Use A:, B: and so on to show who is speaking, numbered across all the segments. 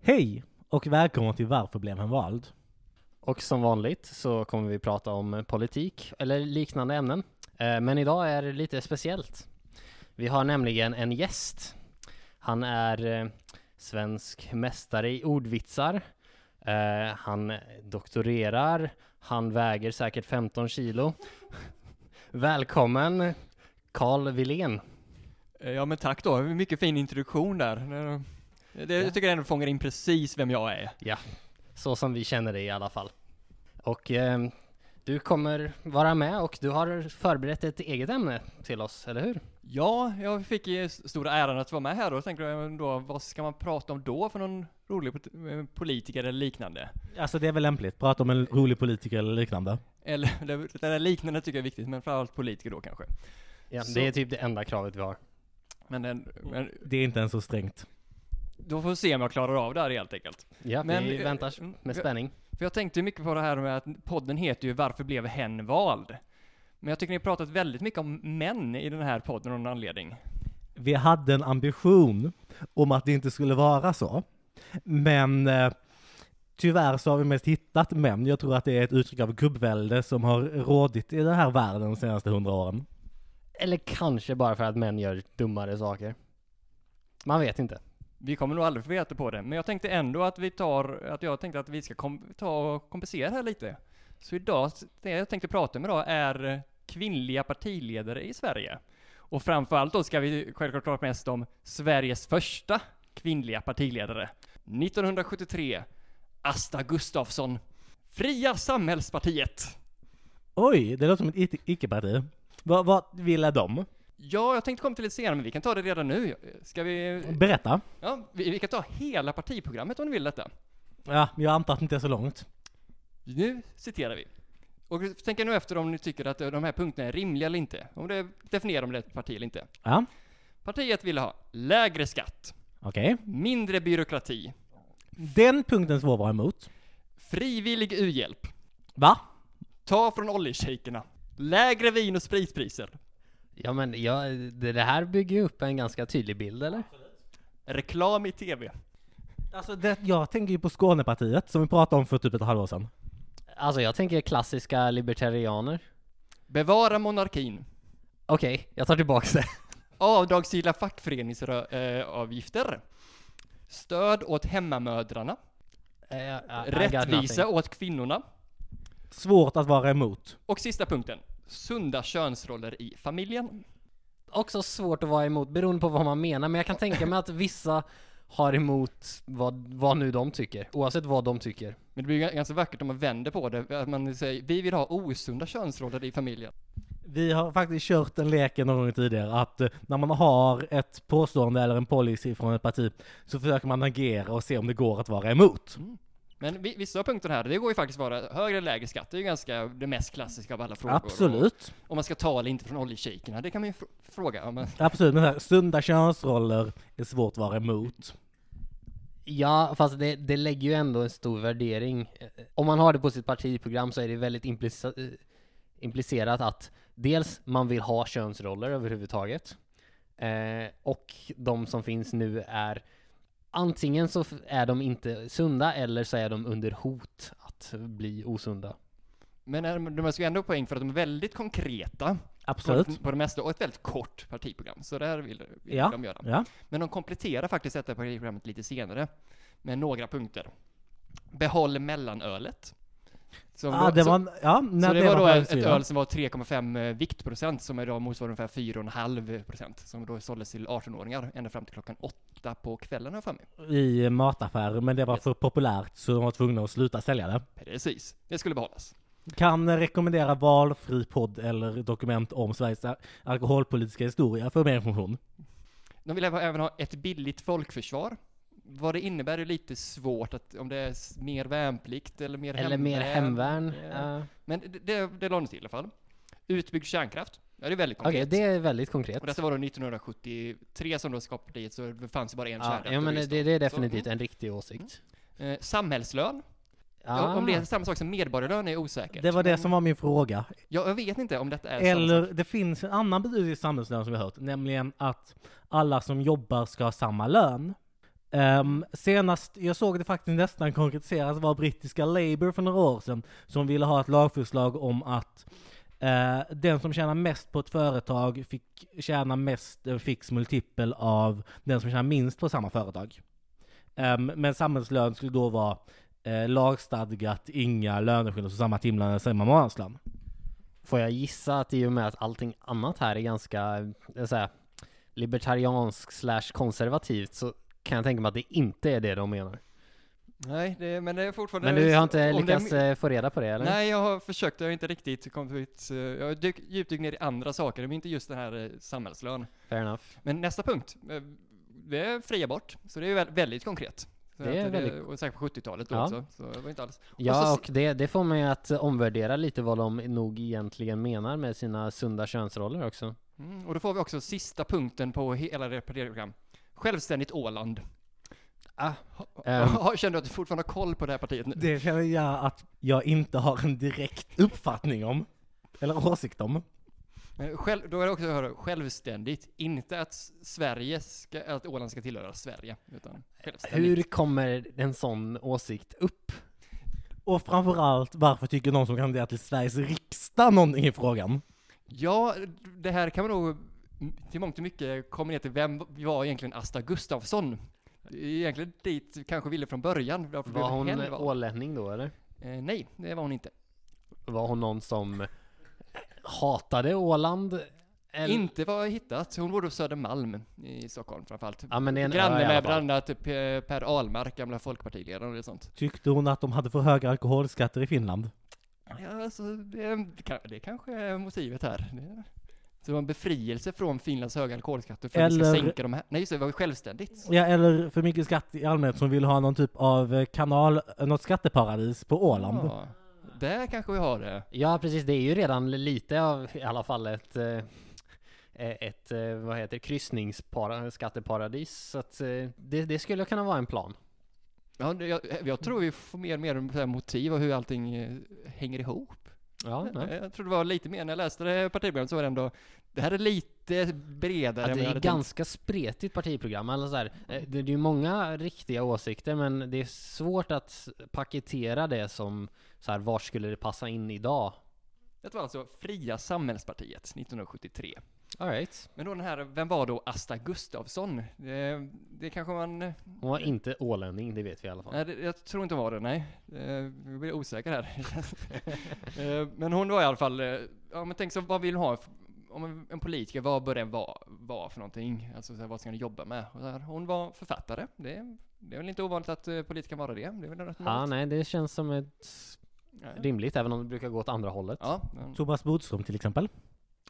A: Hej och välkomna till Varför blev han vald?
B: Och som vanligt så kommer vi prata om politik eller liknande ämnen. Eh, Men idag är det lite speciellt. Vi har nämligen en gäst. Han är eh, svensk mästare i ordvitsar. Eh, Han doktorerar. Han väger säkert 15 kilo. Välkommen Carl Wilén.
C: Eh, Ja men tack då, mycket fin introduktion där. Det, det,
B: Ja.
C: jag tycker ändå fångar in precis vem jag är.
B: Så som vi känner dig i alla fall. Och eh, du kommer vara med och du har förberett ett eget ämne till oss, eller hur?
C: Ja, jag fick eh, s- stora äran att vara med här då, tänkte jag men då, vad ska man prata om då för någon rolig pot- eh, politiker eller liknande?
A: Alltså det är väl lämpligt, prata om en rolig politiker eller liknande.
C: Eller, det där liknande tycker jag är viktigt, men framförallt politiker då kanske.
B: Ja,
C: Så-
B: det är typ det enda kravet vi har.
C: Men, den, men
A: Det är inte ens så strängt.
C: då får vi se om jag klarar av det här helt enkelt.
B: Ja,
C: Men,
B: vi
C: eh,
B: väntar
C: mm,
B: med
C: ja.
B: spänning.
C: För jag tänkte ju mycket på det här med att podden heter ju Varför blev hen vald? Men jag tycker ni har pratat väldigt mycket om män i den här podden av någon anledning.
A: Vi hade en ambition om att det inte skulle vara så. Men eh, tyvärr så har vi mest hittat män. Jag tror att det är ett uttryck av gubbvälde som har rådit i den här världen de senaste hundra åren.
B: Eller kanske bara för att män gör dummare saker. Man vet inte.
C: Vi kommer nog aldrig få veta på det, men jag tänkte ändå att vi tar, att jag tänkte att vi ska kom, ta och kompensera här lite. Så idag, det jag tänkte prata med idag är eh, kvinnliga partiledare i Sverige. Och framförallt då ska vi självklart prata mest om Sveriges första kvinnliga partiledare. 1973, Asta Gustafsson. Fria Samhällspartiet.
A: Oj, det låter som ett it- icke-parti. Vad, vad ville de?
C: Ja, jag tänkte komma till det senare, men vi kan ta det redan nu. Ska vi...
A: Berätta.
C: Ja, vi, vi kan ta hela partiprogrammet om ni vill detta.
A: Ja, jag antar att det inte är så långt.
C: Nu citerar vi. Och tänk nu efter om ni tycker att de här punkterna är rimliga eller inte. Om det definierar om det är ett parti eller inte.
A: Ja,
C: Partiet ville ha lägre skatt,
A: okej.
C: mindre byråkrati,
A: Den punkten som jag var emot.
C: frivillig u-hjälp,
A: Va?
C: ta från oljeshejkerna, lägre vin och spritpriser,
B: Ja, men ja, det, det här bygger ju upp en ganska tydlig bild, eller?
C: reklam i TV.
A: Alltså det, jag tänker ju på Skånepartiet som vi pratade om för typ ett halvår sedan.
B: Alltså, jag tänker klassiska libertarianer.
C: Bevara monarkin.
B: Okej, jag tar tillbaks det.
C: Avdragsgilla fackföreningsavgifter. Stöd åt hemmamödrarna.
B: Eh, I- I got
C: Rättvisa
B: nothing.
C: åt kvinnorna.
A: Svårt att vara emot.
C: Och sista punkten. Sunda könsroller i familjen.
B: Också svårt att vara emot, beroende på vad man menar, men jag kan tänka mig att vissa har emot vad, vad nu de tycker, oavsett vad de tycker.
C: Men det blir ju ganska vackert om man vänder på det, att man säger vi vill ha osunda könsroller i familjen.
A: Vi har faktiskt kört en leken någon gång tidigare att eh, när man har ett påstående eller en policy från ett parti så försöker man agera och se om det går att vara emot.
C: Men vi- vissa av punkterna här, det går ju faktiskt vara högre eller lägre skatt, det är ju ganska det mest klassiska av alla frågor.
A: Absolut.
C: Och, om man ska ta eller inte från oljeshejkerna, det kan man ju fr- fråga. Om man,
A: Absolut, men så här, sunda könsroller är svårt att vara emot.
B: Ja, fast det, det lägger ju ändå en stor värdering. Eh, Om man har det på sitt partiprogram så är det väldigt implica- eh, implicerat att dels man vill ha könsroller överhuvudtaget eh, och de som finns nu är antingen så f- är de inte sunda eller så är de under hot att bli osunda.
C: men är- de ska ju ändå ha poäng för att de är väldigt konkreta på,
A: Absolut.
C: på det mesta och ett väldigt kort partiprogram. Så det här vill, vill
A: Ja.
C: de göra.
A: Ja.
C: Men de kompletterar faktiskt detta partiprogrammet lite senare med några punkter. Behåll mellanölet. Som
A: Ah,
C: då-
A: det
C: som-
A: var, en- ja,
C: Så
A: när
C: det, var då ett, ett
A: framgångsrikt.
C: öl som var 3,5 eh, viktprocent som idag motsvarar ungefär 4,5 procent som då såldes till 18-åringar ända fram till klockan 8 på kvällen har jag för mig.
A: i mataffärer, men det var för populärt så de var tvungna att sluta sälja det.
C: Precis, det skulle behållas.
A: Kan rekommendera valfri podd eller dokument om Sveriges alkoholpolitiska historia för mer information.
C: De vill även även ha ett billigt folkförsvar. Vad det innebär är lite svårt att om det är s- mer värnplikt eller mer
B: Eller mer hemvärn. eh.
C: Men det, det, det la de till i alla fall. Utbyggd kärnkraft. Ja, det är väldigt
B: Okej,
C: konkret.
B: det är väldigt konkret.
C: Och detta var då 1973 som då skapade partiet så det fanns ju bara en
B: Ja,
C: kärnreaktor
B: ja, men det,
C: just då.
B: det är
C: Så,
B: definitivt en riktig åsikt.
C: mm. eh, samhällslön. Ja,
B: Ah.
C: Om det är samma sak som medborgarlön är osäkert.
A: Det var det
C: Men
A: som var min fråga.
C: Jag, jag vet inte om detta är samma
A: Eller
C: sak.
A: det finns en annan betydelse i samhällslön som vi har hört, nämligen att alla som jobbar ska ha samma lön. Eh, Ehm, senast jag såg det faktiskt nästan konkretiseras var brittiska Labour för några år sedan som ville ha ett lagförslag om att eh, den som tjänar mest på ett företag fick tjäna mest en fix multipel av den som tjänar minst på samma företag. Ehm, men samhällslön skulle då vara eh, lagstadgat, inga löneskillnader, så samma timlön eller samma månadslön.
B: Får jag gissa att i och med att allting annat här är ganska, jag säga, libertariansk slash konservativt så kan jag tänka mig att det inte är det de menar.
C: Nej, det, men det är fortfarande...
B: Men du har inte
C: om det-
B: lyckats eh, få reda på det eller?
C: Nej, jag har försökt, jag har inte riktigt kommit... eh, Jag har dykt, djupdykt ner i andra saker, men inte just den här eh, samhällslön.
B: Fair enough.
C: Men nästa punkt, eh, det är fria bort, så det är ju vä- väldigt konkret. Så
B: Det är
C: att
B: väldigt-
C: Och säkert på 70-talet då
B: Ja.
C: också, så det var inte alls...
B: Ja,
C: så-
B: och det, det får mig att omvärdera lite vad de nog egentligen menar med sina sunda könsroller också.
C: Mm, och då får vi också sista punkten på hela det partiprogram. Självständigt Åland.
B: Ah,
C: Ha-
B: ehm.
C: ha- Känner du att du fortfarande har koll på det här partiet nu?
A: Det känner jag att jag inte har en direkt uppfattning om, eller åsikt om.
C: Men Själv, då är det också hör, självständigt, inte att s- Sverige ska, att Åland ska tillhöra Sverige, utan självständigt.
B: Hur kommer en sån åsikt upp?
A: Och framförallt, varför tycker någon som kandiderar till Sveriges riksdag någonting i frågan?
C: Ja, det här kan man nog mm, till mångt och mycket komma ner till vem var egentligen Asta Gustafsson? Det är Egentligen dit vi kanske ville från början. varför
B: Var
C: blev
B: hon
C: hen
B: eh,
C: vald.
B: ålänning då eller?
C: Eh, nej, det var hon inte.
B: Var hon någon som hatade Åland? Eller-
C: Inte vad jag hittat. Hon bor på Södermalm i Stockholm framförallt.
B: Ja, men det är en ö i
C: Granne
B: alla
C: med bland
B: fall.
C: annat P- Per Ahlmark, gamla folkpartiledaren och sånt.
A: Tyckte hon att de hade för höga alkoholskatter i Finland?
C: Ja, alltså, det, det, kan- det kanske är motivet här. Det, så det var en befrielse från Finlands höga alkoholskatter för att vi
A: Eller-
C: ska sänka de här. Nej, just det, det var ju självständigt.
A: Ja, eller för mycket skatt i allmänhet som vill ha någon typ av eh, kanal, något skatteparadis på Åland.
C: Ja, där kanske vi har det.
B: Ja, precis. Det är ju redan lite av i alla fall ett, eh, ett eh, vad heter det, kryssningsskatteparadis. Så att eh, det, det skulle kunna vara en plan.
C: Ja, det- jag, jag tror vi får mer och mer så här motiv och hur allting eh, hänger ihop.
B: Ja, ja.
C: Jag tror det var lite mer, när jag läste det partiprogrammet så var det ändå, det här är lite bredare
B: Att
C: än vad
B: det
C: jag
B: är
C: hade tänkt.
B: ganska spretigt partiprogram. Eller så här, eh, det, det är ju många riktiga åsikter, men det är svårt att paketera det som så här, var skulle det passa in idag?
C: Det var alltså Fria Samhällspartiet 1973.
B: All right.
C: Men då den här, vem var då Asta Gustafsson? Det, det kanske man...
B: Hon var inte ålänning, det vet vi i alla fall.
C: Nej, det, jag tror inte hon var det, nej. Eh, Jag blir osäker här. Eh, men hon var i alla fall, eh, ja men tänk så, vad vill hon ha? f- Om en- en politiker, vad bör den vara, vara för någonting? Alltså så här, vad ska den jobba med? Och så här, hon var författare. Det, det är väl inte ovanligt att eh, politiker kan vara det? Det är väl rätt
B: Ja,
C: vanligt?
B: nej, det känns som ett
C: Nej.
B: rimligt, även om det brukar gå åt andra hållet.
C: Ja, men-
A: Thomas Bodström till exempel.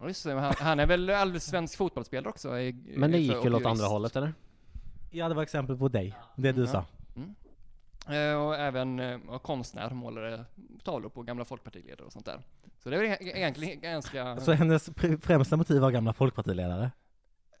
C: ja, just det, men han, han är väl allsvensk fotbollsspelare också? i-
B: Men det
C: för-
B: gick
C: och
B: väl åt andra
C: jurist.
B: hållet, eller?
A: Ja, det var exempel på dig. Det du
C: Ja.
A: sa.
C: Eh, Och även eh, ja, konstnär, målare, tavlor på gamla folkpartiledare och sånt där. Så det är väl e- egentligen ganska...
A: Så hennes pr- främsta motiv var gamla folkpartiledare?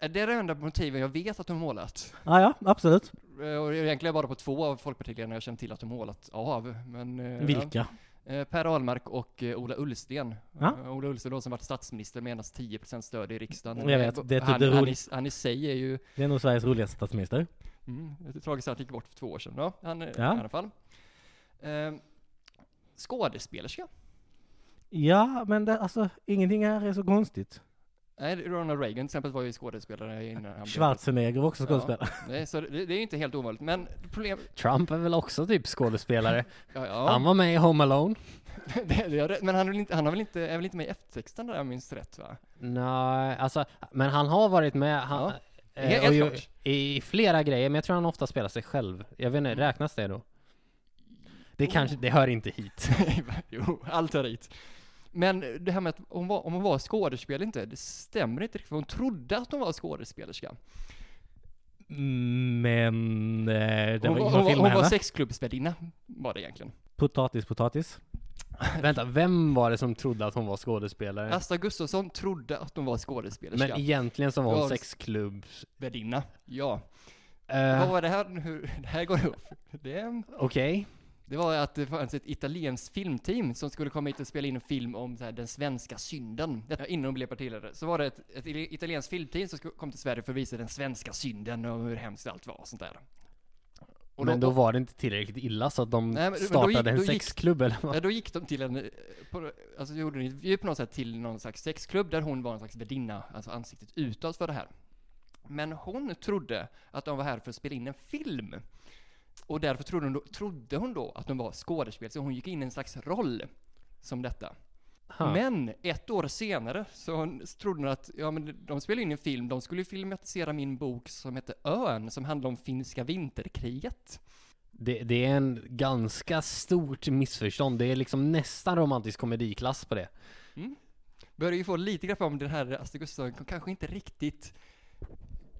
C: Eh, Det är det enda motiven jag vet att de målat.
A: Ja, Ah, ja, absolut.
C: Eh, Och egentligen bara på två av folkpartiledarna jag känner till att de målat av. Men, eh,
A: Vilka?
C: ja. Eh, Per Ahlmark och eh, Ola Ullsten.
A: Ja.
C: Eh, Ola Ullsten då som varit statsminister med endast 10% stöd i riksdagen.
A: Jag vet, det är typ
C: han,
A: det
C: han, i,
A: roligt.
C: han i sig är ju...
A: Det är nog Sveriges roligaste statsminister.
C: Mm, det är tragiskt att han gick bort för två år sedan. Ja, han, eh,
A: Ja.
C: I alla fall. Eh, skådespelerska.
A: Ja, men det, alltså ingenting här är så konstigt.
C: Nej, Ronald Reagan till exempel var ju skådespelare innan han blev-
A: Schwarzenegger var också
C: Ja.
A: skådespelare.
C: Nej, så det, det är ju inte helt ovanligt, men problem...
B: Trump är väl också typ skådespelare?
C: Ja,
B: Han
C: ja.
B: var med i Home Alone.
C: det, det, är rätt, men han, är väl inte, han har väl inte, är väl inte med i eftertexten där, om jag minns rätt va?
B: Nej, alltså, men han har varit med han, eh,
C: Helt-
B: och
C: helt
B: ju-
C: klart.
B: i flera grejer, men jag tror han ofta spelar sig själv. Jag vet inte, räknas det då? Mm. Det kanske, det hör inte hit.
C: jo, allt är hit. Men det här med att hon var, om hon var skådespelare inte, det stämmer inte riktigt, för hon trodde att hon var skådespelerska.
A: Men eh, det var
C: Hon var,
A: ingen som
C: hon var, hon
A: filmade
C: var
A: henne.
C: sexklubbsvärdinna, var det egentligen.
A: Potatis, potatis.
B: Vänta, vem var det som trodde att hon var skådespelare?
C: Asta Gustafsson trodde att hon var skådespelerska.
B: Men egentligen så var hon
C: Ja,
B: sexklubb.
C: Värdinna, ja.
A: Äh.
C: Vad
B: Eh,
C: var det här, hur, det här går upp? Det,
B: Okej.
C: Det var att det fanns ett italienskt filmteam som skulle komma hit och spela in en film om så här, den svenska synden. Detta innan hon blev partiledare. Så var det ett, ett italienskt filmteam som skulle- kom till Sverige för att visa den svenska synden och hur hemskt allt var och sånt där. Och
B: men
C: de-
B: då var det inte tillräckligt illa så att de
C: Nej, men- men då
B: startade
C: gick-
B: en
C: då gick-
B: sexklubb eller vad?
C: Ja, då gick de till en, eh, på, alltså gjorde en intervju på något sätt till någon slags sexklubb där hon var en slags värdinna, alltså ansiktet utåt för det här. Men hon trodde att de var här för att spela in en film. Och därför trodde hon då, trodde hon då att de var skådespel, så hon gick in i en slags roll som detta.
B: Ha.
C: Men ett år senare så hon- så trodde hon att, ja men de spelade in en film, de skulle ju filmatisera min bok som hette Ön, som handlar om finska vinterkriget.
B: Det, det är en ganska stort missförstånd. Det är liksom nästan romantisk komediklass på det.
C: Börjar ju få lite grepp om den här Astrid Gustafsson, kanske inte riktigt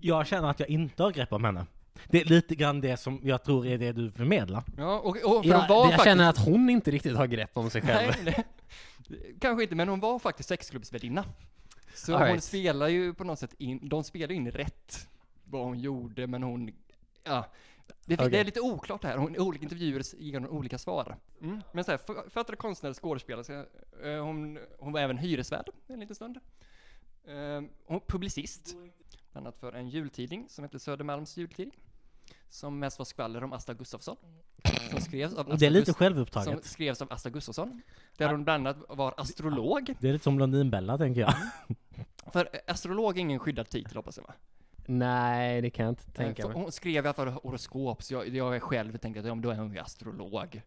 A: Jag känner att jag inte har grepp om henne. Det är lite grann det som jag tror är det du förmedlar.
C: Ja, och, och för
B: Jag,
C: hon var
B: jag
C: faktiskt...
B: känner att hon inte riktigt har grepp om sig själv.
C: nej, nej, kanske inte, men hon var faktiskt sexklubbsvärdinna. Så
B: All
C: hon
B: right.
C: spelar ju på något sätt in, de spelar in rätt vad hon gjorde, men hon, ja. Det, det
B: Okej.
C: är lite oklart här, hon, i olika intervjuer ger hon olika svar. Mm. Men såhär, författare, konstnär, skådespelerska, eh, hon, hon var även hyresvärd en liten stund. Eh, Hon var publicist, bland annat för en jultidning som hette Södermalms jultidning. Som mest var skvaller om Asta Gustafsson. Som
B: Mm.
C: skrevs av
A: Det
C: Asta
A: är lite
C: Gust-
A: självupptaget.
C: som skrevs av Asta Gustafsson. Där hon bland annat var astrolog.
A: Det är lite som Blondinbella tänker jag.
C: För eh, astrolog är ingen skyddad titel hoppas jag va?
B: Nej, det kan jag inte tänka
C: För
B: mig.
C: Hon skrev i alla fall horoskop, så jag, jag är själv tänkte att ja, men då är hon ju astrolog.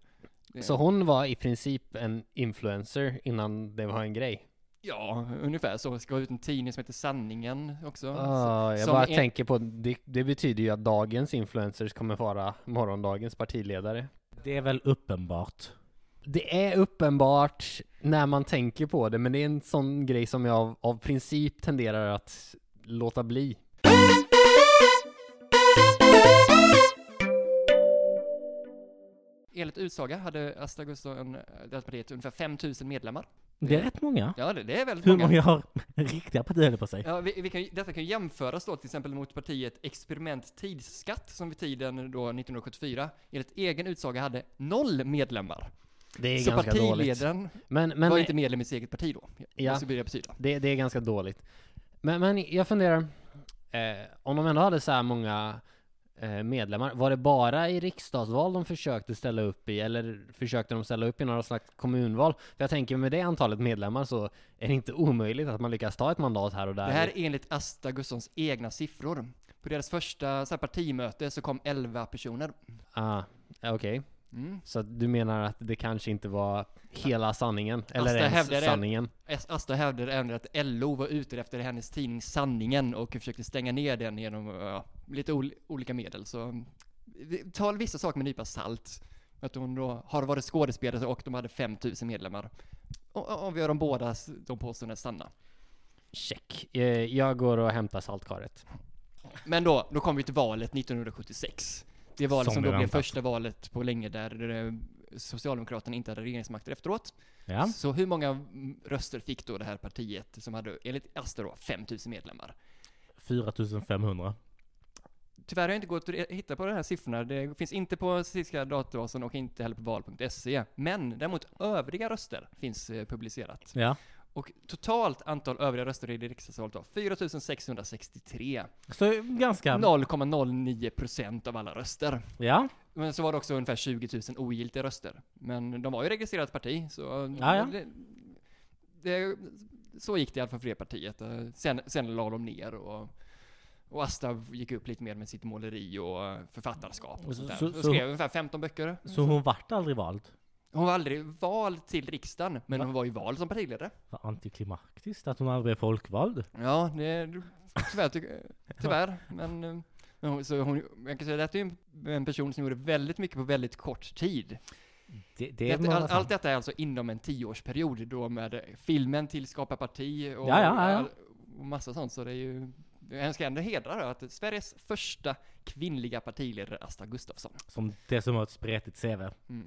C: Eh,
B: Så hon var i princip en influencer innan det var en grej?
C: Ja, ungefär så. Ska ut en tidning som heter Sanningen också.
B: Ah, jag
C: som
B: bara
C: en-
B: tänker på, det, det betyder ju att dagens influencers kommer vara morgondagens partiledare.
A: Det är väl uppenbart.
B: Det är uppenbart när man tänker på det, men det är en sån grej som jag av, av princip tenderar att låta bli.
C: Enligt utsaga hade Asta Gustafsson, eh, det här partiet, ungefär 5000 medlemmar.
A: Det är rätt många.
C: Ja, det, det är väldigt
A: Hur
C: många.
A: många har riktiga partier på sig?
C: Ja, vi, vi kan, ju- detta kan ju jämföras då till exempel mot partiet Experiment Tidsskatt som vid tiden då 1974 enligt egen utsaga hade noll medlemmar.
B: Det är
C: så
B: ganska dåligt.
C: partiledaren
B: Men,
C: var
B: men
C: inte medlem i sitt eget parti då.
B: Ja.
C: Ja. Så blir det betyda.
B: det, det är ganska dåligt. Men, men jag funderar, eh, om de ändå hade så här många eh, medlemmar, var det bara i riksdagsval de försökte ställa upp i, eller försökte de ställa upp i några slags kommunval? För jag tänker med det antalet medlemmar så är det inte omöjligt att man lyckas ta ett mandat här och där.
C: Det här är enligt Asta Gustafssons egna siffror. På deras första så här, partimöte så kom 11 personer.
B: Ah, Okej,
C: Mm.
B: så att du menar att det kanske inte var hela sanningen, eller
C: Asta
B: ens
C: hävdar det.
B: sanningen?
C: As- Asta hävdade även att LO var ute efter hennes tidning Sanningen och försökte stänga ner den genom ja, lite ol- olika medel. Så mm, vi- ta vissa saker med en nypa salt. Att hon då har varit skådespelare och de hade 5000 medlemmar. Och- och- Om vi gör de båda s- de påståendena är sanna.
B: Check. Eh, jag går och hämtar saltkaret.
C: Men då, då kom vi till valet 1976. Det valet
A: Som
C: som,
A: vi
C: då blev
A: väntat.
C: första valet på länge där eh, Socialdemokraterna inte hade regeringsmakten efteråt.
A: Ja.
C: Så hur många mm, röster fick då det här partiet som hade, enligt Asta då, 5000 medlemmar?
A: 4500.
C: Tyvärr har jag inte gått att hitta på de här siffrorna. Det finns inte på statistiska databasen och inte heller på val.se. Men däremot övriga röster finns eh, publicerat.
A: Ja.
C: Och totalt antal övriga röster i det riksdagsvalet var 4663.
A: Så ganska...
C: 0,09 procent av alla röster.
A: Ja.
C: Men så var det också ungefär 20 000 ogiltiga röster. Men de var ju registrerat parti, så...
A: Ja, ja.
C: Det, det, så gick det i alla fall för det partiet. Eh, Sen, sen la de ner och... Och Asta gick upp lite mer med sitt måleri och författarskap och sånt där.
A: Så-
C: Så,
A: så-
C: skrev ungefär 15 böcker.
A: Så hon vart aldrig vald?
C: Hon var aldrig vald till riksdagen, men hon var ju vald som partiledare.
A: Vad antiklimaktiskt att hon aldrig blev folkvald.
C: Ja, det... Tyvärr, ty, tyvärr. Men... eh, men hon, så hon, jag kan säga att det är ju en- en person som gjorde väldigt mycket på väldigt kort tid.
A: Det, det är
C: Detta, all,
A: många
C: allt
A: som-
C: detta är alltså inom en tioårsperiod då med eh, filmen till Skapa Parti och,
A: Ja, ja, ja.
C: och massa sånt. Så det är ju, jag ska ändå hedra då att Sveriges första kvinnliga partiledare Asta Gustafsson.
A: som dessutom har ett spretigt CV.
C: Mm.